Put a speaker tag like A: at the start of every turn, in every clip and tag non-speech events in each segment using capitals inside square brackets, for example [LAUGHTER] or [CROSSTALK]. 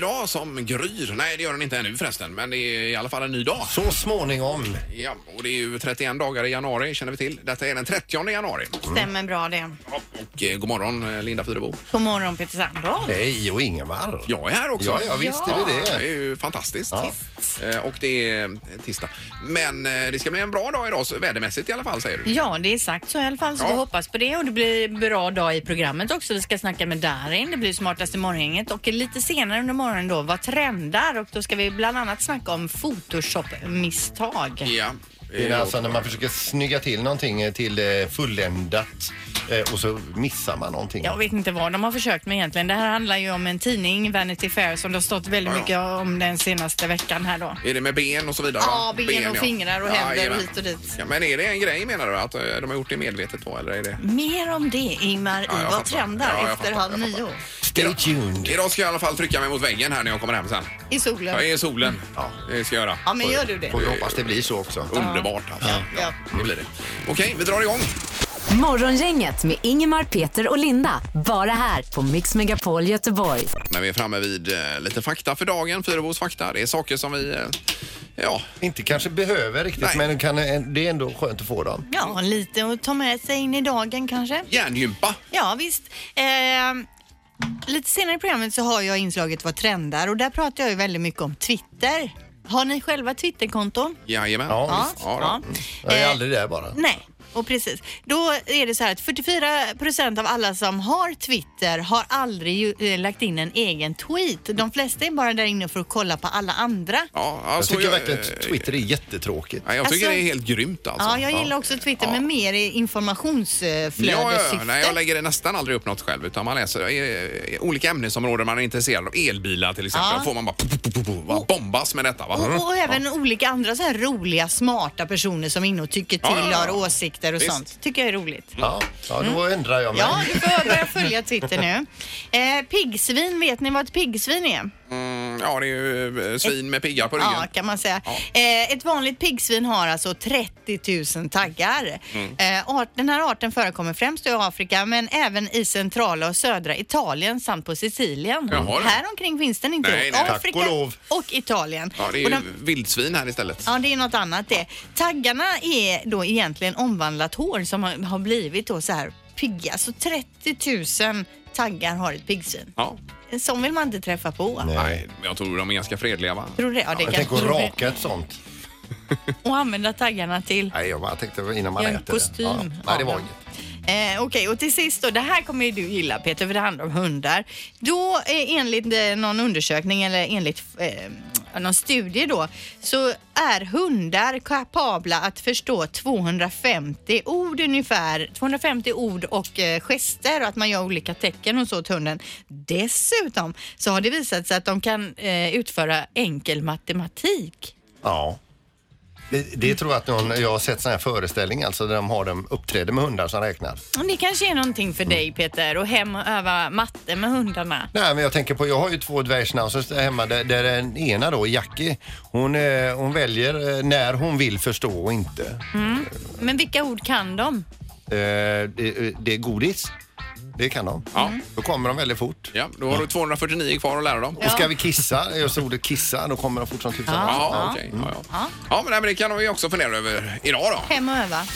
A: dag som gryr. Nej, det gör den inte ännu förresten, men det är i alla fall en ny dag.
B: Så småningom.
A: Ja, och det är ju 31 dagar i januari, känner vi till. Detta är den 30 januari.
C: Stämmer bra det.
A: Ja, Och eh, god morgon, eh, Linda Fyrebo.
C: God morgon Peter Sandholm.
B: Hej och Ingemar.
A: Jag är här också.
B: Ja, ja visst är vi
A: Det är
B: det.
A: ju fantastiskt.
B: Ja.
A: Eh, Och det är tisdag. Men eh, det ska bli en bra dag idag, så vädermässigt i alla fall säger du.
C: Ja, det är sagt så i alla fall. Så
A: Ja.
C: vi hoppas på det. Och det blir bra dag i programmet också. Vi ska snacka med Darin. Det blir smartaste morgongänget. Och lite senare under morgonen då, vad trendar? Och då ska vi bland annat snacka om Photoshop-misstag.
A: Ja.
B: Det är
A: Eh,
B: alltså när man försöker snygga till någonting eh, till eh, fulländat eh, och så missar man någonting.
C: Jag vet inte vad de har försökt med egentligen. Det här handlar ju om en tidning, Vanity Fair, som det har stått väldigt
A: Ja, ja.
C: mycket om den senaste veckan här då.
A: Är det med ben och så vidare?
C: Ja, ben, och
A: ja.
C: fingrar och händer
A: jajamän.
C: och hit och dit.
A: Ja, men är det en grej menar du? Att eh, de har gjort det medvetet då? Eller är det...
C: Mer om det, Ingmar,
A: Ja,
C: i
A: jag
C: Vad
A: fattar.
C: trendar
A: Ja, jag
C: efter
A: fattar,
C: halv
A: jag fattar.
C: nio.
B: Stay tuned.
A: Idag ska jag i alla fall trycka mig mot väggen här när jag kommer hem sen.
C: I solen.
A: Jag är i solen. Det ska jag göra.
C: Ja, men gör du det?
B: Får vi hoppas det blir så också.
A: Underbart alltså. Ja.
C: Ja.
A: Det blir det. Okej, vi drar igång.
D: Morgongänget med Ingemar, Peter och Linda. Bara här på Mix Megapol Göteborg.
A: När vi är framme vid eh, lite fakta för dagen, Fyrebos fakta. Det är saker som vi, eh, ja,
B: Inte kanske behöver riktigt
A: Nej.
B: men kan, eh, det är ändå skönt att få dem.
C: Ja, lite att ta med sig in i dagen kanske.
A: järngympa.
C: Ja, visst. Ehm, lite senare i programmet så har jag inslaget Vad trendar och där pratar jag ju väldigt mycket om Twitter. Har ni själva Twitterkonton?
A: Jajamän.
B: Ja, visst.
A: ja, då.
B: Jag är
C: Eh,
B: aldrig där bara.
C: Nej, och precis. Då är det så här att 44 procent av alla som har Twitter har aldrig ju, eh, lagt in en egen tweet. De flesta är bara där inne för att kolla på alla andra.
A: Ja,
B: Jag
A: alltså,
B: tycker verkligen
A: eh,
B: att Twitter är jättetråkigt.
A: Ja, jag tycker
C: Alltså-
A: det är helt grymt alltså.
C: Ja, jag gillar också Twitter,
A: Ja.
C: men mer i
A: Ja, ja,
C: informationsflödessyfte.
A: ja. Nej, jag lägger det nästan aldrig upp något själv utan man läser eh, olika ämnesområden man är intresserad av. Elbilar till exempel.
C: Ja.
A: Då får man bara pop, pop, pop, pop, va, bombas med detta. Va?
C: Och, och även olika andra så här roliga, smarta personer som är inne och tycker till
A: Ja, ja, ja.
C: och har åsikter och
A: Visst.
C: sånt. Tycker jag är roligt.
B: Ja, ja då ändrar jag mig.
C: Mm. Ja, du får börja följa Twitter nu. Eh, piggsvin, vet ni vad ett piggsvin är?
A: Mm, ja, det är ju eh, svin med piggar på ryggen.
C: Ja, kan man säga. Eh, ett vanligt piggsvin har alltså 30 000 taggar.
A: Mm.
C: Eh, art, den här arten förekommer främst i Afrika men även i centrala och södra Italien samt på Sicilien.
A: Jaha, du.
C: här omkring finns den inte.
A: Nej,
C: i
A: nej.
C: Afrika
B: Tack och lov.
C: och Italien.
A: Ja, det är ju
C: och de,
A: vildsvin här istället.
C: Ja, det är något annat det. Taggarna är då egentligen omvandlat hår som har, har blivit då så här pigga. Så 30 000 taggar har ett piggsvin.
A: Ja.
C: En sån vill man inte träffa på.
B: Nej.
A: Nej, men jag tror de är ganska fredliga va?
C: Tror du det? Ja, det
B: Jag
C: kan-
B: tänker att raka ett sånt.
C: [LAUGHS] Och använda taggarna till...
B: Nej, jag bara tänkte innan man
C: I en
B: äter
C: kostym.
B: det. Ja. Nej, det var
C: Ja.
B: inget.
C: Eh, Okej, och till sist då, det här kommer ju du gilla Peter för det handlar om hundar. Då eh, enligt eh, någon undersökning eller enligt eh, någon studie då så är hundar kapabla att förstå 250 ord ungefär, 250 ord och eh, gester och att man gör olika tecken och så till hunden. Dessutom så har det visat sig att de kan eh, utföra enkel matematik.
B: Ja. Det, det tror jag att någon, jag har sett sådana här föreställningar alltså där de har dem uppträder med hundar som räknar.
C: Och det kanske är någonting för
A: Mm.
C: dig Peter, att hem och öva matte med hundarna.
B: Nej men jag tänker på, jag har ju två dvärgschnauzers där hemma där, där den ena då, Jackie, hon, eh, hon väljer eh, när hon vill förstå och inte.
C: Men vilka ord kan de?
B: Eh, det, det är godis, det kan de.
A: Ja.
B: Då kommer de väldigt fort.
A: Ja, då har du 249 kvar att lära dem.
B: Och ska vi kissa, jag sa ordet kissa, då kommer de fort som tusan.
A: Ja, okej. Ja, ja. ja men, nej, men det kan vi också fundera över idag då.
C: Hem och öva.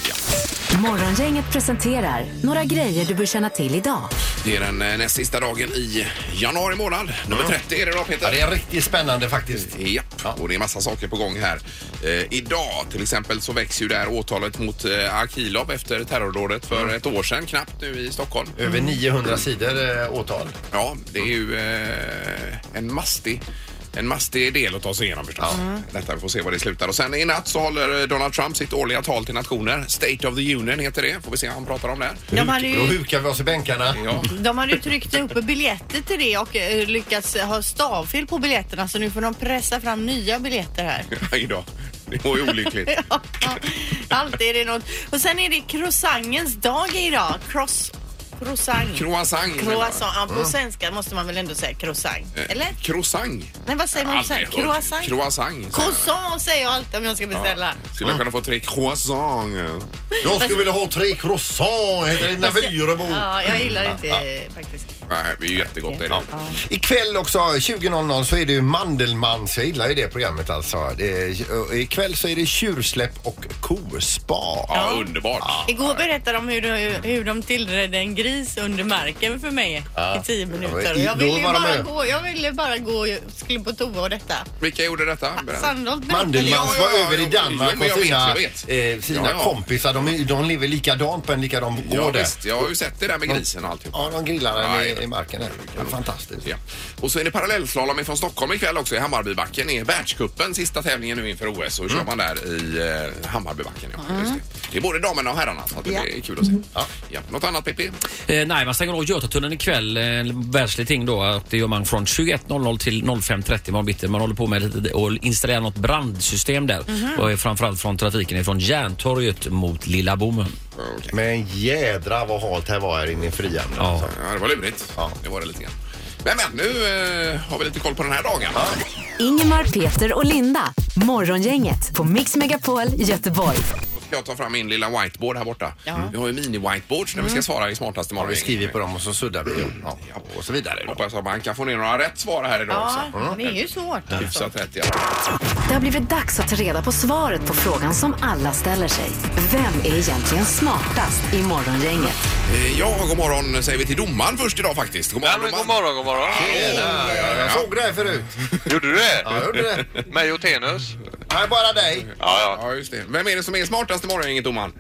D: Morgongänget presenterar några grejer du bör känna till idag.
A: Det är den eh, näst sista dagen i januari månad. Nummer 30 är det då
B: Ja,
A: Peter.
B: det är riktigt spännande faktiskt.
A: Japp, och Mm. det är massa saker på gång här. Eh, idag till exempel så väcks ju det här åtalet mot eh, Akilov efter terrordådet för ett år sedan knappt nu i Stockholm.
B: Över 900 sidor eh, åtal.
A: Ja, det är ju eh, en mastig en mastig del att ta sig igenom förstås. Mm. Detta, vi får se var det slutar. Och sen i natt så håller eh, Donald Trump sitt årliga tal till nationer. State of the Union heter det. Får vi se vad han pratar om där.
C: De hade
B: Då
C: ju,
B: hukar vi oss i bänkarna.
A: Ja. [LAUGHS]
C: de hade ju tryckt upp biljetter till det och eh, lyckats ha stavfel på biljetterna så nu får de pressa fram nya biljetter här.
A: Aj då. Det var ju olyckligt.
C: [LAUGHS] Ja, Alltid är det något. Och sen är det croissangens dag idag. Cross, croissant.
A: Croissant.
C: Croissant. Ja, på svenska måste man väl ändå säga croissant?
A: Eh,
C: Eller?
A: Croissant.
C: Nej, vad säger man? på
A: Aldrig
C: svenska?
A: hört.
C: Croissant?
A: Croissant.
C: Croissant säger jag alltid om jag ska beställa.
A: Skulle jag kunna få tre croissant?
B: Jag skulle vilja ha tre croissant, heter det, Navyrebo.
C: Ja, jag gillar inte eh, faktiskt.
A: Nej, det är ju jättegott. Är det.
B: Ikväll också 20.00 så är det ju Mandelmanns. Jag gillar ju det programmet alltså. Det är, ikväll så är det tjursläpp och kospa.
A: Ja, underbart.
C: Igår berättade de hur, de hur de tillredde en gris under marken för mig i tio minuter. Och Jag
B: Då
C: ville ju
B: var de
C: bara
B: med.
C: gå, jag ville bara gå, jag skulle på toa och detta.
A: Vilka gjorde detta? Berätta.
C: Sandholt berättade jag.
B: Mandelmans
A: Ja, ja,
B: var
A: ja,
B: över i
A: ja,
B: Danmark
A: men jag
B: och
A: vet,
B: sina,
A: jag vet.
B: eh, sina
A: Ja, ja.
B: kompisar. De, är- de lever likadant på en likadan
A: Ja,
B: gård. där.
A: visst, jag har ju sett det där med grisen och alltihop.
B: Ja, de grillar den
A: Nej,
B: i, i marken. där. Det är Fantastiskt.
A: Ja. Och så är det parallellslalom från Stockholm ikväll också i Hammarbybacken. Det är världscupen, sista tävlingen nu inför OS. Så kör man där i eh, Hammarbybacken. Ja. Just det. det är både damerna och herrarna, så att det blir kul att se. Ja. Ja. Något annat Pippi?
E: Eh, nej, man stänger av Götatunneln ikväll. eh, En världslig ting då. Att det gör man från 21.00 till 05.30 imorgon bitti. Man håller på med lite och installerar något brandsystem där. Och är framförallt från trafiken från Järntorget mot Lilla Bommen.
B: Men jädra vad halt här var här inne i Frihamnen.
E: Ja.
B: alltså.
A: Ja, det var lurigt.
B: Ja.
A: Det var det lite grann. Men, men nu eh, har vi lite koll på den här dagen.
D: Ingemar, Peter och Linda. Morgongänget på Mix Megapol Göteborg.
A: Då ska jag ta fram min lilla whiteboard här borta. Vi har ju mini-whiteboards när vi ska svara i smartaste morgon.
B: Vi skriver på dem och så suddar vi. Ja, och så vidare. Då.
A: Hoppas att man kan få ner några rätt svar här idag
C: Ja,
A: också.
C: det är ju svårt. alltså.
A: Hyfsat rätt, ja.
D: Det har blivit dags att ta reda på svaret på frågan som alla ställer sig. Vem är egentligen smartast i Morgongänget?
A: Eh, Ja, god morgon säger vi till domaren först idag faktiskt. God
F: Ja,
A: morgon,
F: men god
A: domaren.
F: morgon, god morgon.
B: Ja, Jag såg det här förut.
F: Gjorde du det?
B: Ja, jag gjorde det.
F: Mig och Tenus?
B: Nej, bara dig.
F: Ja, ja.
A: Ja, just det. Vem är det som är smartast i morgon, inget domaren?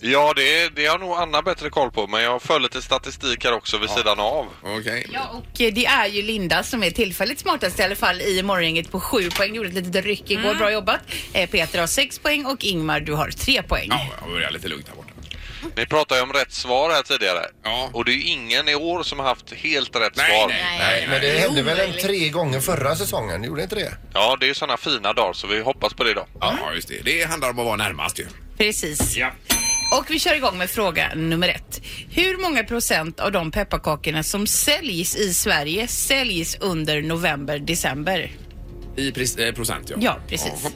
F: ja det, det har nog Anna bättre koll på, men jag för lite statistik här också vid sidan av.
A: Okej.
C: Ja, och eh, det är ju Linda som är tillfälligt smartast i alla fall i morgongänget på sju poäng. Gjorde ett litet ryck igår, bra jobbat. Eh, Peter har sex poäng och Ingmar du har tre poäng.
A: Ja, jag börjar lite lugnt här borta.
F: Ni pratade ju om rätt svar här tidigare.
A: Ja.
F: Och det är ju ingen i år som har haft helt rätt
A: Nej,
F: svar.
A: nej, nej.
B: Nej, men det hände väl en tre gånger förra säsongen? Gjorde inte det?
F: Ja, det är ju sådana fina dagar så vi hoppas på det då.
A: Ja, just det. Det handlar om att vara närmast ju.
C: Precis.
A: Ja.
C: Och vi kör igång med fråga nummer ett. Hur många procent av de pepparkakorna som säljs i Sverige säljs under november, december?
A: I pris, eh, procent, ja.
C: Ja, precis.
A: Jaha.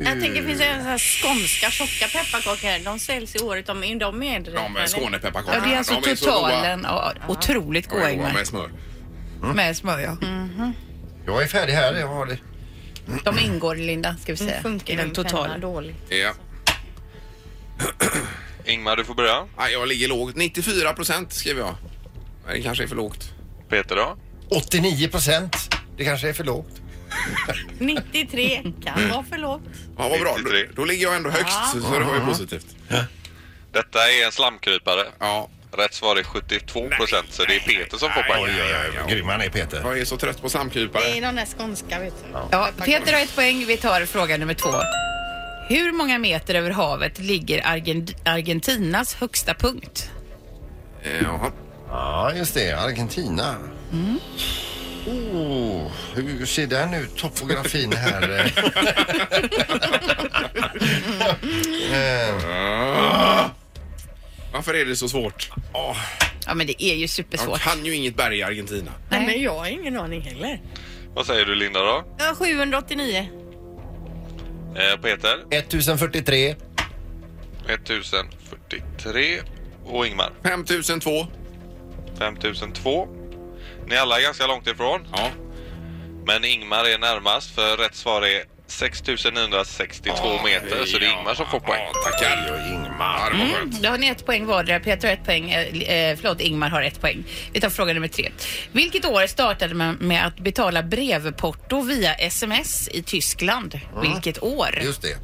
C: Jag tänker, finns det en sån här skånska tjocka pepparkakor? De säljs i året, de är de med.
A: De eh, Skånepepparkakorna.
C: Ja, det är alltså
A: de är så
C: totalen. Ja, otroligt
A: goda. De
C: goda,
A: är goda
C: Ingmar.
A: med smör.
C: Med smör, ja.
B: Jag är färdig här. Jag har det.
C: De ingår, Linda, ska vi säga. I den totala.
G: dåligt.
A: Ja.
F: Ingmar, du får börja.
A: Ah, jag ligger lågt. 94 procent skriver jag. Nej, Det kanske är för lågt.
F: Peter då?
B: 89 procent. Det kanske är för lågt.
C: 93 kan vara för lågt.
A: Ja, vad bra. Då,
F: 93.
A: då ligger jag ändå högst, så, så det var ju positivt.
F: Detta är en slamkrypare.
A: Ja.
F: Rätt svar är 72 procent, så det är Peter som får
A: nej,
F: poäng.
A: nej, nej. Ja, ja.
B: Grym han är, Peter.
A: Jag är så trött på slamkrypare.
G: de där skånska vet du.
C: Ja, Peter har ett poäng. Vi tar fråga nummer två. Hur många meter över havet ligger Argen- Argentinas högsta punkt?
A: Eh, Jaha.
B: Ja, just det. Argentina. Mm. Oh, hur ser den ut, topografin här? [LAUGHS] Eh,
A: Varför är det så svårt? Åh,
C: Ja, men det är ju
A: jag
C: supersvårt.
A: kan ju inget berg i Argentina.
C: Nej.
G: Men jag har ingen aning heller.
F: Vad säger du Linda då?
G: 789.
F: Eh, Peter?
B: 1043.
F: 1043. Och Ingmar?
A: 5002.
F: 5002. Ni alla är ganska långt ifrån,
A: Ja.
F: men Ingmar är närmast för rätt svar är 6962 meter, så det är Ingmar som får poäng.
A: Ja, tackar. Och Ingmar. Ja, det var skönt.
C: Då Mm, har ni ett poäng vardera. Peter har ett poäng. eh, Eh, förlåt, Ingmar har ett poäng. Vi tar fråga nummer tre. Vilket år startade man med att betala brevporto via sms i Tyskland? Vilket år?
B: Just det.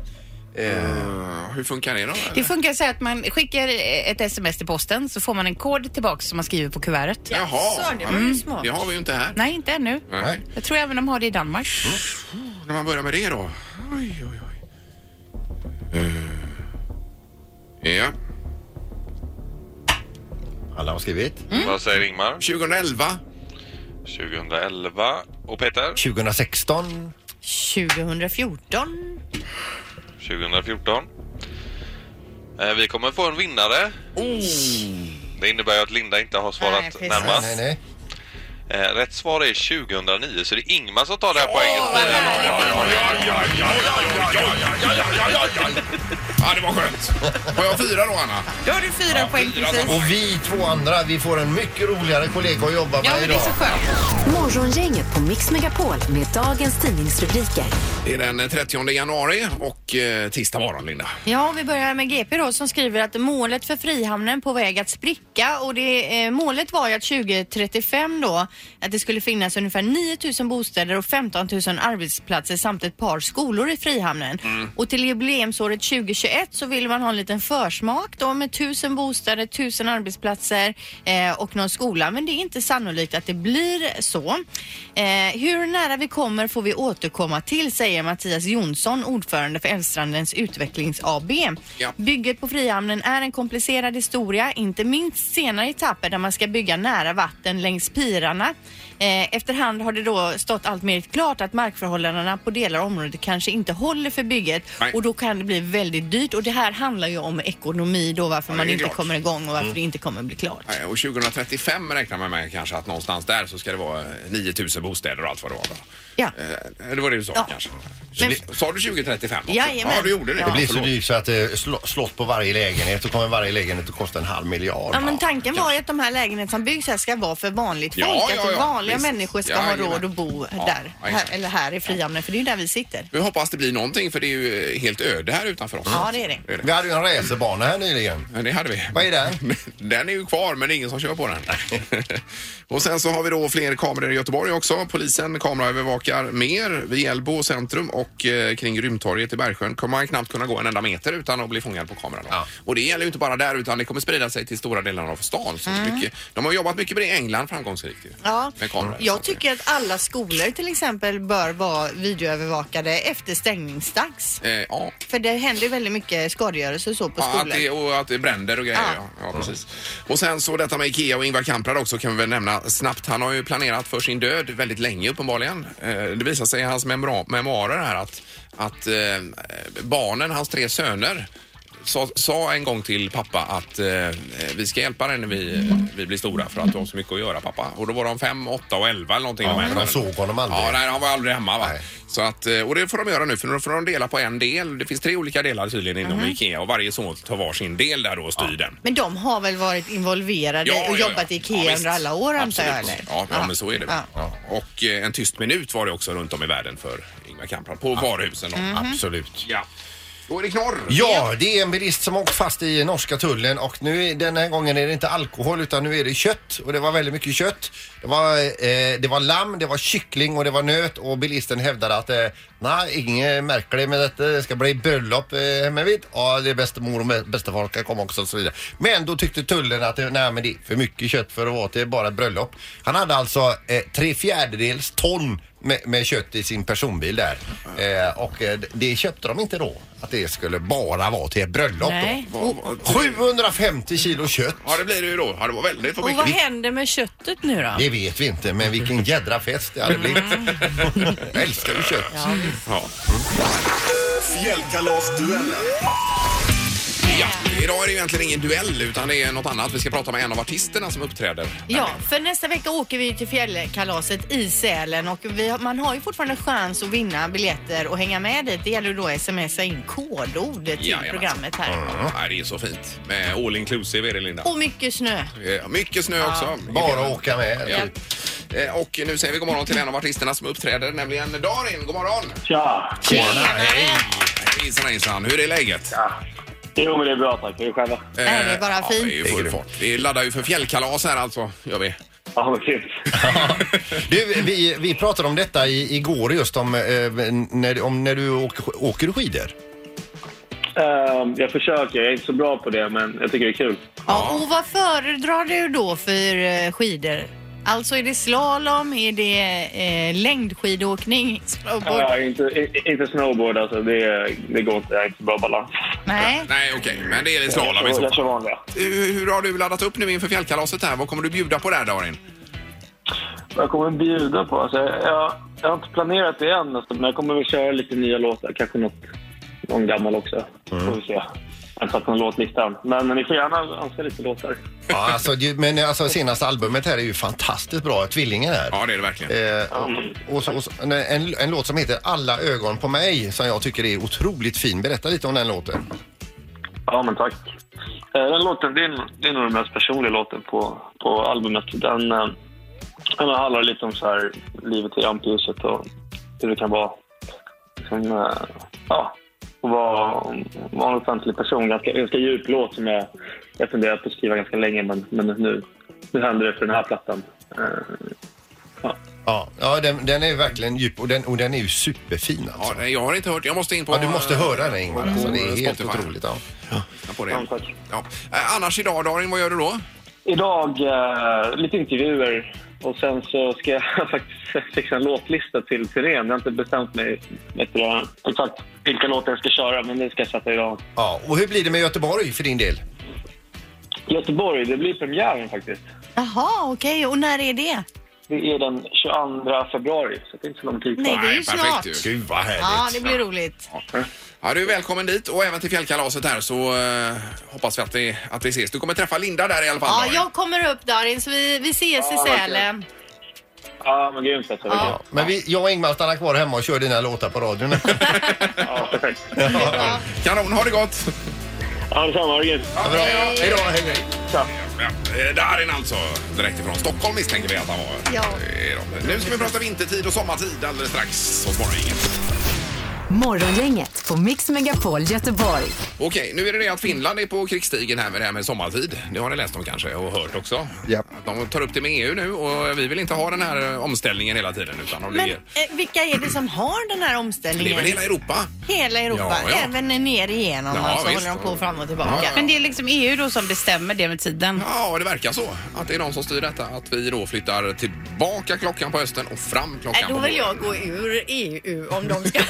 A: Ja, Eh, Hur funkar det då?
C: Mm. Det funkar så här att man skickar eh, ett sms till posten så får man en kod tillbaka som man skriver på kuvertet. Mm.
A: Jaha, det var ju smart. Det har vi ju inte här.
C: Nej, inte ännu.
A: Nej.
C: Jag tror även de har det i Danmark.
A: När man börjar med det då? Oj, oj, oj. Eh, Ja.
B: Alla har skrivit.
F: Mm. Vad säger Ingmar?
A: 2011.
F: 2011. Och Peter?
B: 2016.
G: 2014.
F: 2014. Eh, vi kommer få en vinnare.
A: Oh.
F: Det innebär ju att Linda inte har
G: Nej,
F: svarat
G: precis.
B: Nej,
F: närmast.
B: nej, nej.
F: Eh, rätt svar är 2009, så det är Ingmar som tar det här poänget.
A: Ja, ja, ja, ja, ja, ja, ja, ja, ja, ja, ja, ja, ja. Ja, det var skönt. Har jag fyra då, Anna?
C: Då har du fyra
A: Ja,
C: poäng
A: fyra
C: precis.
A: som-
B: Och vi två andra, vi får en mycket roligare kollega att jobba med
H: Ja, men det är
B: idag.
H: så skönt.
D: Morgongänget på Mix Megapol med dagens tidningsrubriker.
A: Det är den 30 januari och eh, tisdag morgon, Linda.
C: Ja, vi börjar med GP då som skriver att målet för Frihamnen på väg att spricka och det, eh, målet var ju att 2035 då att det skulle finnas ungefär 9000 bostäder och 15 000 arbetsplatser samt ett par skolor i Frihamnen. Och till jubileumsåret 2021 så vill man ha en liten försmak då med 1000 bostäder, 1000 arbetsplatser eh, och någon skola. Men det är inte sannolikt att det blir så. Eh, hur nära vi kommer får vi återkomma till säger Mattias Jonsson, ordförande för Älvstrandens utvecklings AB.
A: Ja.
C: Bygget på Frihamnen är en komplicerad historia, inte minst senare etapper där man ska bygga nära vatten längs pirarna. Eh, efterhand har det då stått allt mer klart att markförhållandena på delar av området kanske inte håller för bygget
A: Nej.
C: och då kan det bli väldigt dyrt och det här handlar ju om ekonomi då varför
A: Ja, det är
C: man inte
A: klart. Mm.
C: kommer igång och varför det inte kommer bli klart.
A: Nej, Och 2035 räknar man med kanske att någonstans där så ska det vara eh, 9000 bostäder och allt vad det var. va?
C: Ja.
A: Eh, Det var det du sa
C: Ja.
A: kanske.
C: Men-
A: Men... Sa du 2035? också?
C: Jajamän.
A: Ja, du gjorde det.
C: Ja.
B: Det blir så
A: Förlåt.
B: dyrt så att det är sl- slott på varje lägenhet. Då kommer varje lägenhet att kosta en halv miljard.
C: Ja, men tanken var ju att de här lägenheterna som byggs här ska vara för vanligt
A: Ja,
C: folk.
A: ja, ja,
C: att vanliga
A: visst.
C: människor ska
A: Ja,
C: ha
A: jajamän.
C: råd att bo
A: Ja,
C: där. Här,
A: jajamän.
C: eller här i Frihamnen, för det är ju där vi sitter.
A: Vi hoppas det blir någonting för det är ju helt öde här utanför oss.
C: Ja, det är det.
B: Vi hade ju en racerbana här nyligen.
A: Ja, Det hade vi.
B: Vad är den?
A: [LAUGHS] Den är ju kvar men det är ingen som kör på den. [LAUGHS] och sen så har vi då fler kameror i Göteborg också. Polisen kameraövervakar mer vid Hjällbo centrum och eh, kring Rymdtorget i Bergsjön kommer man knappt kunna gå en enda meter utan att bli fångad på kameran.
B: Ja.
A: Och det gäller ju inte bara där utan det kommer sprida sig till stora delar av stan. Så mycket, de har jobbat mycket med det i England framgångsrikt ju,
C: Mm. Ja,
A: med kameror. Så
C: jag
A: att-
C: tycker att alla skolor till exempel bör vara videoövervakade efter stängningsdags.
A: Eh, ja,
C: För det händer ju väldigt mycket skadegörelse och så på
A: Ja, att
C: skolor.
A: det, och att det bränder och grejer. Ja.
C: Ja.
A: Ja, precis. Och sen så detta med Ikea och Ingvar Kamprad också kan vi väl nämna snabbt. Han har ju planerat för sin död väldigt länge uppenbarligen. Eh, Det visar sig i hans memora- memoarer här att, att eh, barnen, hans tre söner, sa, sa en gång till pappa att eh, vi ska hjälpa dig när vi, vi blir stora för att du har så mycket att göra pappa. Och då var de fem, åtta och elva eller någonting.
B: Ja,
A: de här
B: men de
A: barnen.
B: såg honom aldrig.
A: Ja, nej, han var aldrig hemma va.
B: Nej.
A: Så att, eh, och det får de göra nu för nu får de dela på en del. Det finns tre olika delar tydligen inom IKEA och varje son tar var sin del där då och styr den.
C: Men de har väl varit involverade
A: Ja,
C: och
A: ja,
C: jobbat i
A: ja.
C: IKEA
A: Ja, visst.
C: under alla år antar jag?
A: Absolut.
C: Eller?
A: Ja, ja, men så är det.
C: Ja.
A: Och eh, en tyst minut var det också runt om i världen för Ingvar Kamprad på varuhusen. Då.
B: Absolut.
A: Mm-hmm. Ja. Då är det knorr.
B: Ja, det är en bilist som har åkt fast i norska tullen och nu är- den här gången är det inte alkohol utan nu är det kött och det var väldigt mycket kött. Det var, eh, det var lamm, det var kyckling och det var nöt och bilisten hävdade att eh, nej, ingen märker det men detta Det ska bli bröllop eh, hemmavid. Ja, det är bästa mor och bä- bästa folk kan komma också och så vidare. Men då tyckte tullen att det, nej, men det är för mycket kött för att vara till bara ett bröllop. Han hade alltså eh, tre fjärdedels ton med, med kött i sin personbil där. Eh, och eh, det köpte de inte då. Att det skulle bara vara till ett bröllop
C: Nej.
B: då. Och 750 kilo kött.
A: Ja, det blir det ju då. Ja, det var väldigt för
C: Och vad
A: mycket.
C: händer med köttet nu då?
B: Det vet vi inte, men vilken jädra fest det hade blivit. Jag älskar ju kött.
A: Ja.
I: Fjällkalasduellen.
A: Ja. Idag är det ju egentligen ingen duell utan det är något annat. Vi ska prata med en av artisterna som uppträder.
C: Ja, för nästa vecka åker vi till fjällkalaset i Sälen och vi, har- man har ju fortfarande chans att vinna biljetter och hänga med dit. Det gäller ju då att smsa in kodord till
A: Jajamän.
C: programmet här.
A: Ja, det är så fint. Med all inclusive är det Linda.
C: Och mycket snö.
A: Eh, Mycket snö också.
B: Bara åka med.
A: Ja. Eh, Och nu säger vi god morgon till en av artisterna som uppträder, nämligen Darin. God morgon!
J: Tja!
C: Tjenare!
A: Hejsan hejsan, hur är läget?
J: Jo, men det är bra tack. Hur är det själva?
A: Eh,
C: Nej, det är bara
A: ja,
C: fint.
A: det är full fart. Vi laddar ju för fjällkalas här alltså, gör vi.
J: Ja, vad grymt.
B: Du, vi, vi pratade om detta i, igår just om, eh, när, om när du åker, åker du skidor.
J: Ehm, jag försöker. Jag är inte så bra på det, men jag tycker det är kul.
C: Ja, och vad föredrar du då för eh, skidor? Alltså är det slalom, är det eh, längdskidåkning, snowboard?
J: Ja, inte, i- inte snowboard, alltså. Det, det går inte. Jag har inte så bra balans.
C: Nej.
A: Nej, okej, men det är slalom i
J: Jag
A: så
J: kör
A: fall.
J: vanliga.
A: Hur, hur har du laddat upp nu inför fjällkalaset här? Vad kommer du bjuda på där Darin?
J: Vad jag kommer att bjuda på? Alltså, jag, jag har inte planerat det än, alltså, men jag kommer att köra lite nya låtar. Kanske något, någon gammal också. Får vi se. Jag har inte satt någon låtlista än. Men ni får gärna önska lite låtar.
B: Ja, alltså, det- men alltså, senaste albumet här är ju fantastiskt bra. Tvillingen här.
A: Ja, det är det verkligen.
B: Eh, och, och, så- och, så- en, en, en låt som heter Alla ögon på mig som jag tycker är otroligt fin. Berätta lite om den låten.
J: Ja, men tack. Eh, Den låten, det är, det är nog den mest personliga låten på, på albumet. Den, eh, den handlar lite om så här, livet i rampljuset och hur det kan vara. Liksom, eh, ja, att vara, vara en offentlig person. Ganska, ganska djup låt som jag, jag funderat på att skriva ganska länge, men, men nu, nu händer det för den här plattan. Eh, ja.
B: Ja, ja den, den är verkligen djup och den, och den är ju superfin
A: Ja,
B: alltså.
A: nej, jag har inte hört. Jag måste in på...
B: Ja, du måste höra den Ingmar. Alltså, det är helt
A: Spotify.
B: otroligt. Ja.
A: lyssna på det.
J: Ja, tack.
A: Ja. Eh, Annars idag, Darin, vad gör du då?
J: Idag eh, lite intervjuer och sen så ska jag [LAUGHS] faktiskt fixa en låtlista till turnén. Jag har inte bestämt mig vet du, det, exakt vilka låtar jag ska köra, men det ska jag sätta idag.
B: Ja, och hur blir det med Göteborg för din del?
J: Göteborg, det blir premiären faktiskt.
C: Jaha, okej. Och när är det?
J: Det är den 22 februari, så det är inte så lång tid kvar.
C: Nej, det är ju
A: Nej, perfekt
C: snart.
A: ju.
B: Gud vad
C: Ja,
B: härligt.
C: det blir roligt.
A: Ja, du är välkommen dit och även till fjällkalaset här så eh, hoppas vi att vi, att vi ses. Du kommer träffa Linda där i alla fall.
C: Ja,
A: Darin.
C: jag kommer upp Darin, så vi, vi ses i
J: Ja, verkligen.
C: Sälen.
J: Ja, men grymt alltså.
B: Ja, men vi, jag och Ingmar stannar kvar hemma och kör dina låtar på radion. [LAUGHS]
J: Ja, perfekt.
B: ja,
A: Kanon, ha det gott!
J: Ja, detsamma. Ha det grymt.
B: bra. Hej då, hej, hej.
A: Ja, eh, Darin alltså, direkt ifrån Stockholm misstänker vi att han var.
C: Ja.
A: Eh, då. Nu ska vi prata vintertid och sommartid alldeles strax hos Morgongänget.
D: Morgongänget på Mix Megapol Göteborg.
A: Okej, nu är det det att Finland är på krigsstigen här med det här med sommartid. Det har ni läst om kanske och hört också.
B: Ja.
A: Att De tar upp det med EU nu och vi vill inte ha den här eh, omställningen hela tiden utan de
C: Men
A: ligger...
C: eh, vilka är det som har den här
A: Det är
C: omställningen?
A: väl hela Europa?
C: Hela Europa,
A: Ja, ja.
C: även ner igenom
A: Ja,
C: alltså,
A: visst.
C: håller de på fram och tillbaka.
A: Ja, ja.
H: Men det är liksom EU då som bestämmer det med tiden.
A: Ja, det verkar så. Att det är de som styr detta. Att vi då flyttar tillbaka klockan på hösten och fram klockan
C: Nej,
A: på
C: Äh, då vill
A: våren.
C: jag gå ur EU om de ska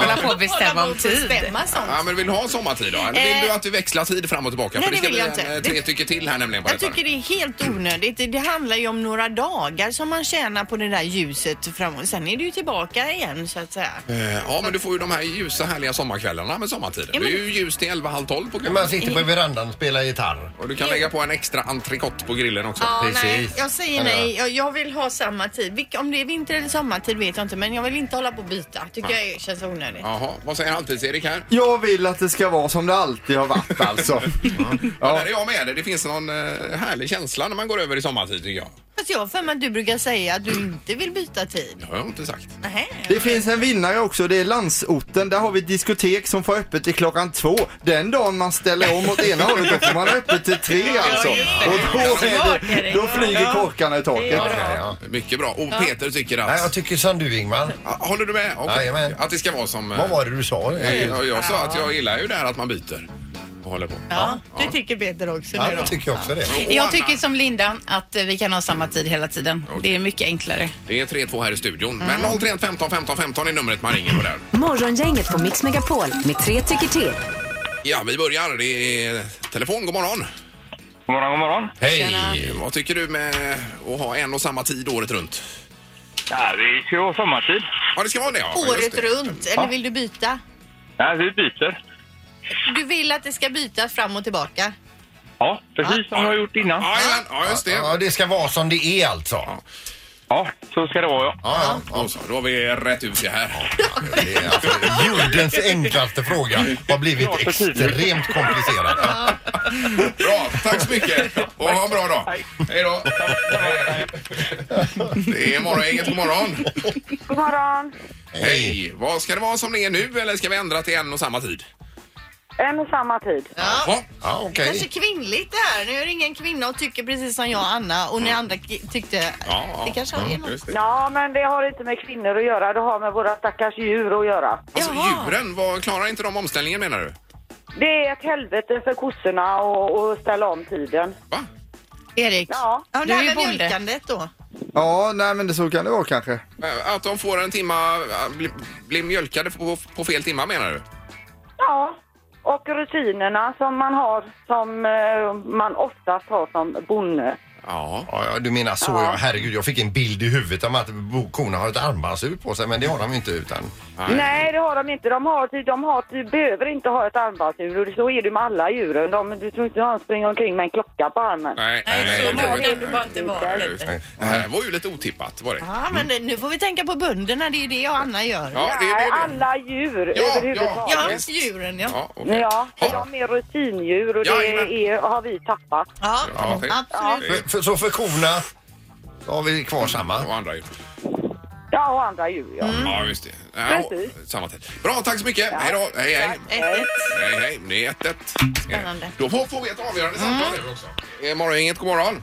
H: Hålla på och bestämma om tid.
C: Bestämma sånt.
A: Ja, men vill du ha sommartid då? Eller vill
C: Eh.
A: du att vi växlar tid fram och tillbaka?
C: Nej,
A: För
C: det
A: ska
C: vill jag
A: bli en,
C: inte.
A: eh, Tre tycker till här nämligen på
C: Jag
A: detta.
C: tycker det är helt onödigt. Det- Det handlar ju om några dagar som man tjänar på det där ljuset framåt. Sen är det ju tillbaka igen så att säga.
A: Eh, Ja, men du får ju de här ljusa härliga sommarkvällarna med sommartiden.
C: Ja, men-
A: Det är ju ljus till 11, halv 12 på kvällen.
B: Man sitter på verandan och spelar gitarr.
A: Och du kan lägga på en extra entrecote på grillen också.
C: Ja,
B: Precis.
C: nej, jag säger
B: Kan det
C: nej. Jag, jag vill ha samma tid. Vilk, om det är vinter eller sommartid vet jag inte, men jag vill inte hålla på och byta. Tycker jag är- känns onödigt.
A: Jaha, vad säger halvtids-Erik här?
I: Jag vill att det ska vara som det alltid har varit alltså.
A: Ja.
I: Ja.
A: Där är jag med dig. Det finns någon eh, härlig känsla när man går över i sommartid tycker jag.
C: Fast jag har för mig att du brukar säga att du inte vill byta tid.
A: Det har jag inte sagt.
C: Nähä.
I: Det finns en vinnare också, det är landsorten. Där har vi diskotek som får öppet till klockan två. Den dagen man ställer om åt ena hållet, då får man öppet till tre alltså. Och då, är det, då flyger korkarna i taket.
B: Ja, ja.
A: Mycket bra. Och Peter tycker att...
B: Nej, jag tycker som du Ingmar.
A: Ah, Håller du med? Okej.
B: Jajamän.
A: Att det ska vara som... eh,
B: Vad var det du sa?
A: eh, Jag, jag sa att jag gillar ju det här att man byter och håller på.
C: Ja, det tycker Peter också
B: Ja,
C: nu då.
B: jag tycker också det.
A: Och Anna,
H: Jag tycker som Linda att eh, vi kan ha samma tid hela tiden. Det är mycket enklare.
A: Det är 3-2 här i studion. Men 031 15 15 15 är numret man ringer på där.
D: Morgongänget på Mix Megapol med tre tycker till.
A: Ja, vi börjar. Det är telefon. God morgon.
J: God morgon, god morgon.
B: Hej!
A: Eh, Vad tycker du med att ha en och samma tid året runt?
J: Ja, vi kör sommartid.
A: Ja, det ska vara det. Ja. Just
C: Året
A: det.
C: runt, eller vill du byta?
J: Ja, vi byter.
C: Du vill att det ska bytas fram och tillbaka?
J: Ja, precis som vi har gjort innan.
A: Ja, jajamän. ja, just det.
B: Ja, det ska vara som det är alltså. Ja,
J: Ja, så ska det vara ja.
B: ja.
A: Ja, så, då har vi rätt ut det här.
B: Det är alltså jordens enklaste fråga har blivit extremt komplicerad.
A: Bra, tack så mycket. Och ha en bra dag. Hej då. Det är Morgongänget. God morgon.
K: God morgon.
A: Hej. Vad ska det vara som det är nu eller ska vi ändra till en och samma tid?
K: En och samma tid.
A: Ja.
B: Ja, okej.
C: Kanske kvinnligt det här. Nu är det ingen kvinna och tycker precis som jag Anna och ni andra ki- tyckte...
A: Mm. Ja, ja.
C: Det kanske är något.
A: Just det.
K: Ja, men det har inte med kvinnor att göra. Det har med våra stackars djur att göra.
A: Alltså
C: Ah.
A: djuren, vad, klarar inte de omställningen menar du?
K: Det är ett helvete för kossorna att- att ställa om tiden.
A: Va?
H: Erik,
K: Ja.
C: Ja,
H: Du
C: det
H: är
C: här
H: ju
C: med
H: bonde.
C: mjölkandet då.
I: Ja, nej men det så kan det vara kanske.
A: Eh, Att de får en timma, eh, bli- blir mjölkade på, på fel timma menar du?
K: Ja. Och rutinerna som man har, som eh, man oftast har som bonde.
A: Ja.
B: Ja, ja, du menar så ja. Herregud, jag fick en bild i huvudet om att bo- korna har ett armbandsur på sig, men det har de ju inte utan.
K: Nej, det har de inte. De, har, ty- de, har, de behöver inte ha ett armbandsur. Och så är det med alla djuren. De, du tror inte någon springer omkring med en klocka på armen.
A: Nej,
H: Nej, så
A: det var
H: många
A: ju-
H: kan det bara inte vara.
A: just det. Det här var ju lite otippat var det.
C: Ja, men nu får vi tänka på bönderna. Det är ju det jag och Anna gör.
A: Ja, det,
K: Nej,
A: det, det.
K: alla djur
A: Ja,
K: överhuvudtaget.
A: ja,
C: Ja,
A: visst.
C: djuren ja.
A: Ja, okej.
K: Ja, för
A: Ja.
K: de är rutindjur och
A: Ja,
K: det
A: jajamän.
K: är, har vi tappat.
C: Ja,
A: Ja, okej.
C: absolut.
B: För, för, så för korna så har vi kvar samma.
A: Eh, Och andra ju.
K: Ja, och andra djur, ja.
A: Ja, just det. Ja,
K: Precis.
A: och- samma tid. Bra, tack så mycket. Hej då. Hej, hej.
C: Ett,
A: Hej, hej. Det är 1-1.
C: Spännande.
A: Då får, får vi ett avgörande samtal mm. också. Eh, Morgongänget, god morgon.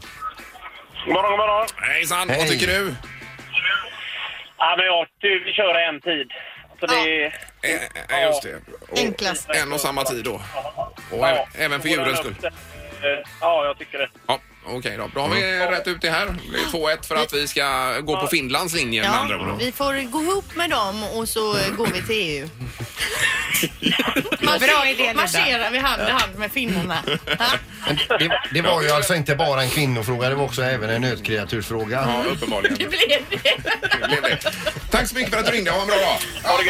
J: God morgon, god morgon.
A: Hejsan, vad
B: Hej.
A: tycker du?
J: Ja, men jag vill köra en tid. Så det är...
A: Eh, eh, just det. Och
C: enklast.
A: En och samma tid då. Och även, även för
J: då går den
A: djurens
J: upp
A: skull.
J: den. Eh, Ja, jag tycker det.
A: Ja, Okej då. Då har vi rätt ut det här. Det är 2-1 för att vi ska gå på Finlands linje med andra
C: Ja,
A: ord.
C: vi får gå ihop med dem och så eh, går vi
H: [LAUGHS]
C: till EU.
H: Bra idé, Linda.
C: Marscherar vi hand i hand med finnarna. Ja.
B: Men det, det var ju alltså inte bara en kvinnofråga, det var också även en nötkreatursfråga.
A: Ja,
C: [LAUGHS]
A: uppenbarligen.
H: Det blir det.
A: Det blev det. Tack så mycket för att du ringde. Ha en bra dag.
B: Tack,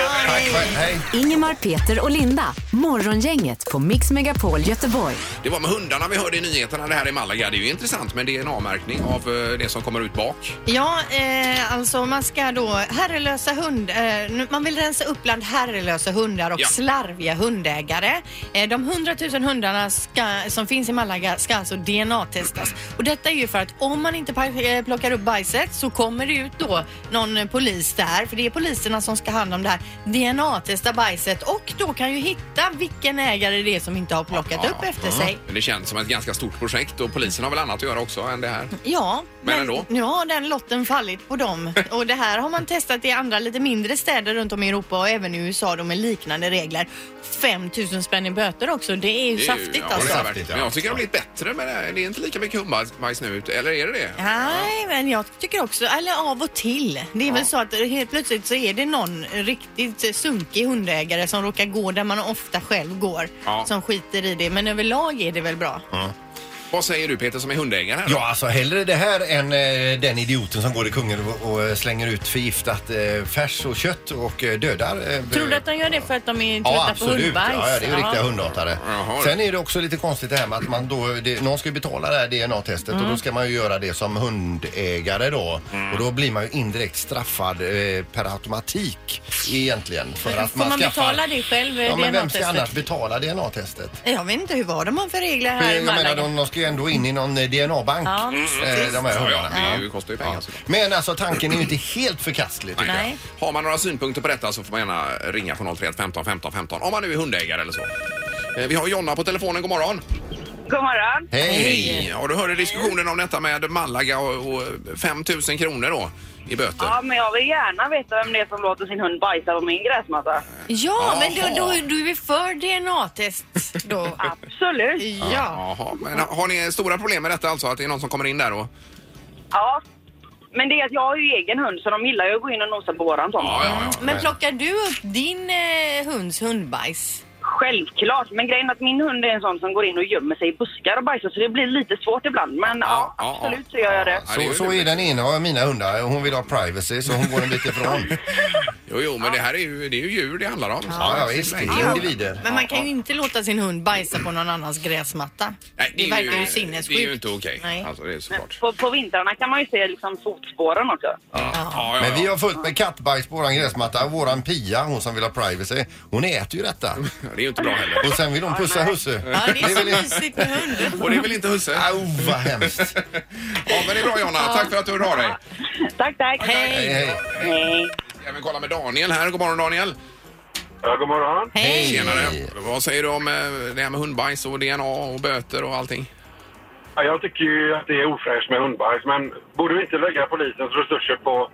B: men hej.
D: Ingemar, Peter och Linda. Morgongänget på Mix Megapol Göteborg.
A: Det var med hundarna vi hörde i nyheterna det här i Malaga. Det är ju intressant med DNA-märkning av eh, det som kommer ut bak.
C: Ja, eh, alltså man ska då herrelösa hund... Eh, nu- man vill rensa upp bland herrelösa hundar och
A: Ja.
C: slarviga hundägare. Eh, de 100 000 hundarna ska, som finns i Malaga ska alltså DNA-testas. Och detta är ju för att om man inte pa- eh, plockar upp bajset så kommer det ut då någon eh, polis där, för det är poliserna som ska ha hand om det här. DNA-testa bajset och då kan ju hitta vilken ägare det är som inte har plockat upp efter sig.
A: Men det känns som ett ganska stort projekt och polisen har väl annat att göra också än det här.
C: Ja,
A: Men ändå.
C: nu har den lotten fallit
B: [LAUGHS]
C: på dem. Och det här har man testat i andra lite mindre städer runt om i Europa och även i USA då med liknande regler. 5 000 spänn i böter också, det är ju
A: Det är ju-
C: saftigt
A: ja,
C: alltså.
A: det är
B: Saftigt,
A: verkligen.
B: ja.
A: Men jag tycker det har blivit bättre med det här. Det är inte lika mycket hundbajs nu, ute, eller är det det?
C: Nej, men jag tycker också, eller av och till. Det är väl så att helt plötsligt så är det någon riktigt sunkig hundägare som råkar gå där man ofta själv går.
A: Ja.
C: Som skiter i det, men överlag är det väl bra.
A: Vad säger du Peter som är hundägare? här?
B: Ja, alltså hellre det här än eh, den idioten som går i kungen och, och eh, slänger ut förgiftat eh, färs och kött och eh, dödar. eh,
C: Tror du att de gör det för att de är trötta
B: Ja,
C: på
B: absolut.
C: hundbajs?
B: Ja, ja, det är ju
C: Ja.
B: riktiga hundatare.
A: Jaha.
B: Sen är det också lite konstigt det här med att man då, det, någon ska ju betala det här DNA-testet och
H: Mm.
B: då ska man ju göra det som hundägare då.
A: Mm.
B: Och då blir man ju indirekt straffad eh, per automatik egentligen. För att
H: Får man
B: skaffar-
H: betala det eh, själv,
B: Ja, men vem ska
H: DNA-testet?
B: annars betala DNA-testet?
C: Jag vet inte hur var de har för regler här i
B: Jag menar,
C: Malaga.
B: de, de ska ju ändå in i någon eh, DNA-bank,
H: Ja,
B: eh, de här
A: Mm, Ja, ja,
B: hundarna.
A: det är ju- kostar ju pengar.
B: Ja.
A: såklart.
B: Men alltså tanken är ju inte helt förkastlig. tycker jag.
H: Nej.
A: Ah, Har man några synpunkter på detta så får man gärna ringa på 031 15 15 15 om man nu är hundägare eller så. Eh, Vi har Jonna på telefonen, god morgon.
K: God morgon.
B: Hej!
A: Hej! Ja, du hörde diskussionen om detta med Malaga och, och 5 000 kronor då i böter.
K: Ja, men jag vill gärna veta vem det är som låter sin hund bajsa på min gräsmatta.
C: Ja, men
A: Jaha.
C: då, då, då är vi för DNA-test då.
K: Absolut.
C: ja.
A: Jaha, men har ni stora problem med detta alltså? Att det är någon som kommer in där och...
K: Ja. Men det är att jag har ju egen hund så de gillar ju att gå in och nosa på våran tomt.
A: Ja, ja, ja.
C: Men plockar du upp din eh, hunds hundbajs?
K: Självklart. Men grejen är att min hund är en sån som går in och gömmer sig i buskar och bajsar så det blir lite svårt ibland. Men ja, absolut så gör jag det.
A: Ja, det
B: Så,
A: ju
B: så är
A: lurigt.
B: den ena av mina hundar. Hon vill ha privacy så hon går en
A: [LAUGHS]
B: bit ifrån.
A: Jo, jo, men det här är ju, det är ju djur det handlar om.
B: Ja, ja visst. Det är individer.
C: Men man kan ju inte låta sin hund bajsa på någon annans gräsmatta.
A: Nej,
C: det, verkar ju
A: Det är ju
C: sinnessjukt.
A: inte okej.
C: Nej.
A: Alltså, det är såklart.
K: På, på vintrarna kan man ju se liksom fotspåren också.
A: Ja, ja,
B: Men vi
A: ja.
B: har fullt med kattbajs på våran gräsmatta. Våran Pia, hon som vill ha privacy, hon äter ju detta.
A: Det är ju inte bra heller.
B: Och sen vill hon pussa husse.
C: Ja, det är så
B: väl inte-
C: mysigt med
A: [LAUGHS]
C: hunden.
A: Och det är väl inte husse?
B: Au, vad hemskt.
A: Ja, men det är bra Jonna. Tack för att du hörde av dig.
K: Tack, tack.
B: Hej, hej.
K: Hej.
A: Även kolla med Daniel här. God morgon Daniel.
J: Ja, god morgon.
C: Hej!
A: Tjenare. Vad säger du om eh, det här med hundbajs och DNA och böter och allting?
J: Ja, jag tycker ju att det är ofräscht med hundbajs, men borde vi inte lägga polisens resurser på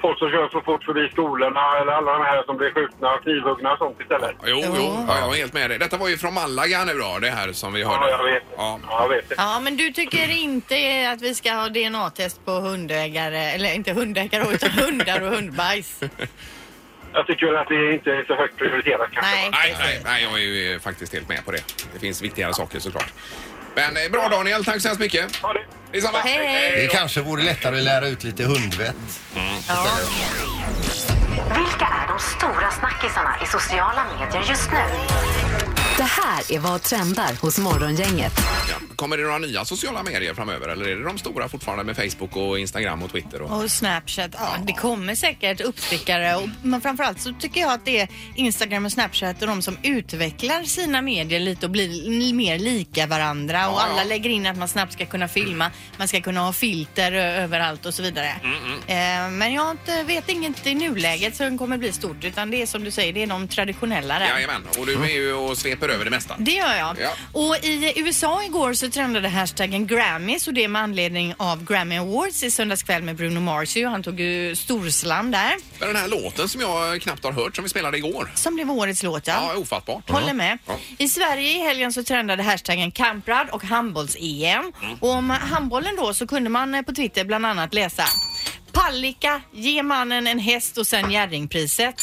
J: folk som kör så fort förbi skolorna eller alla de här som blir skjutna, knivhuggna och sånt istället?
A: Jo, jo. Ja, jag är helt med dig. Detta var ju från Malaga nu då, det här som vi hörde.
J: Ja, jag vet.
A: Ja.
J: Ja, jag vet det.
C: Ja, men du tycker inte att vi ska ha DNA-test på hundägare, eller inte hundägare, [LAUGHS] utan hundar och hundbajs?
J: Jag tycker väl att det inte är så högt prioriterat kanske.
C: Nej.
A: Nej, nej, nej, jag är ju faktiskt helt med på det. Det finns viktigare saker såklart. Men eh, bra Daniel, tack så hemskt mycket. Detsamma.
C: Hej, hej.
B: Det kanske vore lättare att lära ut lite hundvett.
D: Vilka är de stora snackisarna i sociala medier just nu? Det här är vad trendar hos Morgongänget.
A: Ja. Kommer det några nya sociala medier framöver eller är det de stora fortfarande med Facebook och Instagram och Twitter? Och...
C: Och Snapchat, ja, det kommer säkert uppstickare. Och, men framförallt så tycker jag att det är Instagram och Snapchat och de som utvecklar sina medier lite och blir l- mer lika varandra. och alla lägger in att man snabbt ska kunna filma, man ska kunna ha filter ö- överallt och så vidare. Eh, men jag inte, vet inget i nuläget som kommer bli stort utan det är som du säger, det är de traditionella där.
A: Jajamän, och du är ju och sveper över det mesta.
C: Det gör jag.
A: Ja.
C: Och i USA igår så trendade hashtaggen Grammys och det med anledning av Grammy Awards i söndags kväll med Bruno Mars. ju. Han tog ju storslam där,
A: Men den här låten som jag knappt har hört som vi spelade igår.
C: som blev årets låt. Ja.
A: Ja, ofattbart.
C: Håller med.
A: Ja.
C: I Sverige i helgen så trendade hashtaggen kamprad och handbolls-EM. Och om handbollen då så kunde man eh, på Twitter bland annat läsa Pallika, ge mannen en häst och
A: [LAUGHS]
C: sen Jerringpriset.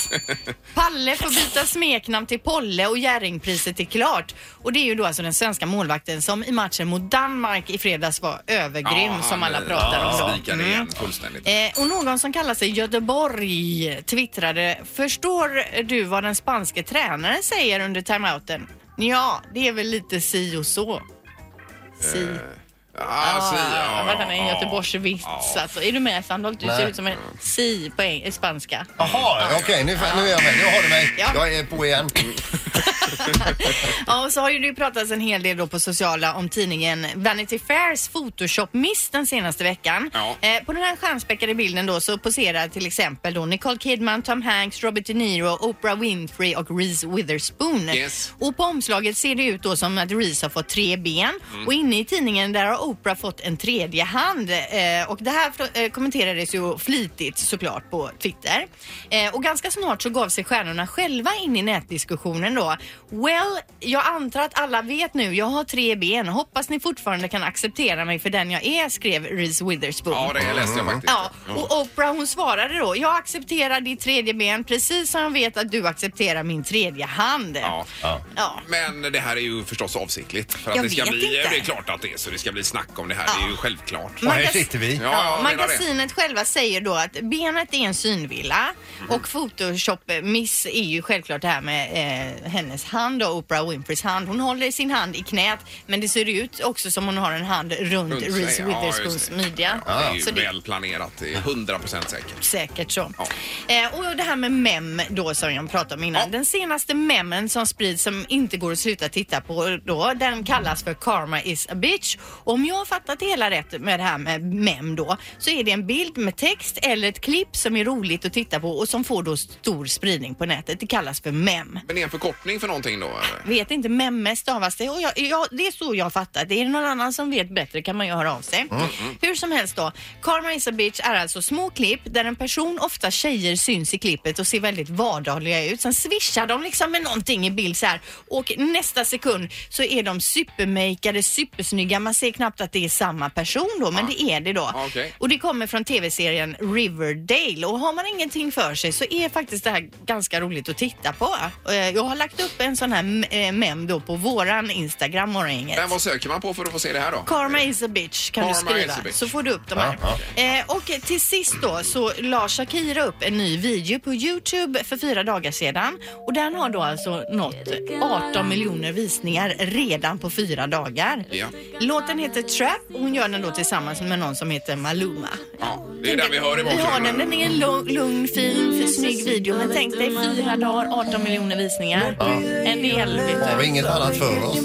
C: Palle får byta smeknamn till Polle och Jerringpriset är klart. Och det är ju då alltså den svenska målvakten som i matchen mot Danmark i fredags var övergrym
A: Ja,
C: som
A: han,
C: alla
A: eh,
C: pratar om. då.
A: Spikade igen fullständigt.
C: Eh, och någon som kallar sig Göteborg twittrade Förstår du vad den spanske tränaren säger under timeouten? Ja, det är väl lite si och så. Si.
A: Ah, si, Eh, ja,
C: Vad fan är en
A: ja.
C: göteborgsvits alltså. Är du med Sandholt? Du ser
B: Nej.
C: ut som en si på eng- spanska.
B: Jaha, okej nu, nu är jag med. Nu har du mig.
C: Ja.
B: Jag är på igen.
C: Ja, och så har ju det ju pratats en hel del då på sociala om tidningen Vanity Fairs Photoshop-miss den senaste veckan.
A: Ja.
C: Eh, på den här stjärnspäckade bilden då så poserar till exempel då Nicole Kidman, Tom Hanks, Robert De Niro, Oprah Winfrey och Reese Witherspoon.
A: Yes.
C: Och på omslaget ser det ut då som att Reese har fått tre ben
A: Mm.
C: och inne i tidningen där har Oprah fått en tredje hand. Eh, och det här fl- eh, kommenterades ju flitigt såklart på Twitter. Eh, och ganska snart så gav sig stjärnorna själva in i nätdiskussionen då. Well, jag antar att alla vet nu, jag har tre ben. Hoppas ni fortfarande kan acceptera mig för den jag är, skrev Reese Witherspoon.
A: Ja, det läste jag faktiskt.
C: Ja, och Oprah hon svarade då, jag accepterar ditt tredje ben precis som jag vet att du accepterar min tredje hand.
A: Ja.
C: Ja.
A: Men det här är ju förstås avsiktligt. För att
C: Jag
A: det ska
C: vet
A: bli,
C: inte. Mm.
A: Det är klart att det är så. Det ska bli snack om det här. Det är ju självklart.
B: Och här
C: Magas-
B: sitter vi.
A: Ja, jag menar det.
C: magasinet själva säger då att benet är en synvilla
A: Mhm.
C: och Photoshop-miss är ju självklart det här med eh, hennes hand och Oprah Winfreys hand. Hon håller sin hand i knät men det ser ut också som hon har en hand runt
A: Runt sig,
C: Reese
A: ja,
C: Witherspoons
A: just det.
C: midja.
A: Ja, det är ju
C: Så det-
A: väl planerat. Det är 100 procent säkert.
C: säkert så.
A: Ja.
C: Eh, och det här med mem då som jag pratade om innan.
A: Ja.
C: Den senaste memen som sprids som inte går att sluta titta på då, den kallas för Karma is a bitch. Och om jag har fattat det hela rätt med det här med mem då, så är det en bild med text eller ett klipp som är roligt att titta på och som får då stor spridning på nätet. Det kallas för mem.
A: Men det är en förkortning för någonting då? eller?
C: Vet inte, memme stavas det. Och jag, jag, det är så jag har fattat det. Är det någon annan som vet bättre kan man ju höra av sig.
A: Mm,
C: Hur som helst då. Karma is a bitch är alltså små klipp där en person, ofta tjejer, syns i klippet och ser väldigt vardagliga ut. Sen swishar de liksom med någonting i bild så här och nästa sekund så är de supermakeade, supersnygga. Man ser knappt att det är samma person då, men det är det då.
A: Ja, okej.
C: Och det kommer från tv-serien Riverdale och har man ingenting för sig så är faktiskt det här ganska roligt att titta på. Eh, Jag har lagt upp en sån här m- eh, mem då på våran Instagram morgongänget.
A: Men vad söker man på för att få se det här då?
C: Karma is a bitch kan
A: Karma
C: du
A: is
C: skriva
A: a bitch.
C: så får du upp de här. Eh, och till sist då så la Shakira upp en ny video på Youtube för fyra dagar sedan och den har då alltså nått 18 miljoner visningar redan på fyra dagar.
A: Ja.
C: Låten heter Trap och hon gör den då tillsammans med någon som heter Maluma.
A: Ja, det är den vi hör i
C: Vi har
A: bakgrunden.
C: den. Den är en lugn, lugn fin, för snygg video. Men tänk dig fyra dagar, 18 miljoner visningar. En del,
B: Har
C: vet
B: vi
C: du.
B: inget annat för oss?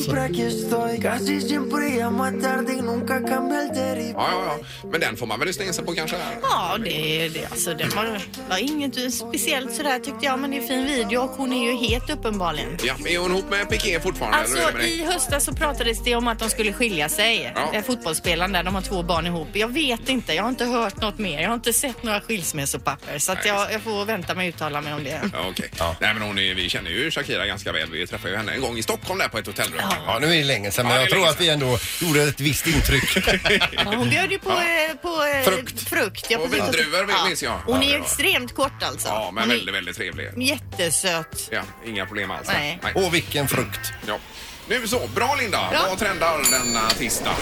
A: Ja, ja, ja. Men den får man väl lyssna in sig på kanske?
C: Ja, det, det, alltså, det var, var inget speciellt sådär tyckte jag. Men det är en fin video och hon är ju het uppenbarligen.
A: Ja, är hon ihop med Piqué fortfarande? eller hur är det
C: Alltså
A: med dig?
C: i höstas så pratades det om att de skulle skilja sig.
A: Ja.
C: Ja. Fotbollsspelaren där, de har två barn ihop. Jag vet inte, jag har inte hört något mer. Jag har inte sett några skilsmässopapper. Så att
A: Nej,
C: jag, jag får vänta med att uttala mig om det.
A: Ja, okej. Nej, men hon är, vi känner ju Shakira ganska väl. Vi träffade ju henne en gång i Stockholm där på ett hotellrum.
B: Ja, nu är det länge sedan, men
A: Ja, det är
B: jag tror
A: länge
B: att vi ändå gjorde ett visst intryck. [LAUGHS]
C: Ja, hon bjöd ju på, eh, på eh,
B: Frukt.
C: frukt. Ja,
A: Och
C: precis.
A: vindruvor, vill- minns jag. Ja,
C: Hon är
A: det
C: ju
A: var-
C: extremt kort alltså.
A: Ja, men
C: hon
A: väldigt, väldigt trevlig.
C: är jättesöt.
A: Ja, inga problem alls.
C: Nej.
B: Åh, vilken frukt.
A: Ja. Nu så, bra Linda! Vad trendar denna tisdag?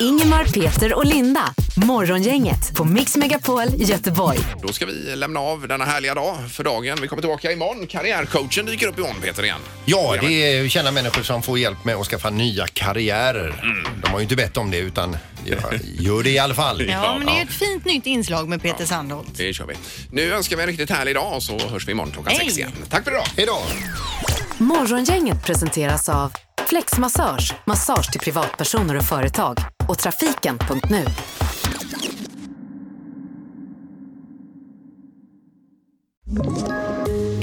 D: Ingemar, Peter och Linda. Morgongänget på Mix Megapol Göteborg.
A: Då ska vi lämna av denna härliga dag för dagen. Vi kommer tillbaka imorgon. Karriärcoachen dyker upp imorgon Peter igen.
L: Ja, det är ju kända människor som får hjälp med att skaffa nya karriärer. De har ju inte bett om det utan gör- gör det i alla fall.
C: Ja, men det är ju ett fint nytt inslag med Peter Sandholt.
A: Det kör vi. Nu önskar vi en riktigt härlig dag och så hörs vi imorgon klockan
C: Hej.
A: sex igen. Tack för idag!
L: Hej då!
D: Morgongänget presenteras av Flexmassage, massage till privatpersoner och företag och trafiken.nu.